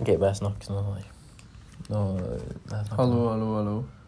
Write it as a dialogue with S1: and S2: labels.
S1: OK, bare snakk sånn. eh, Nå, nei, snakk.
S2: Hallo, hallo, hallo.
S1: sånn.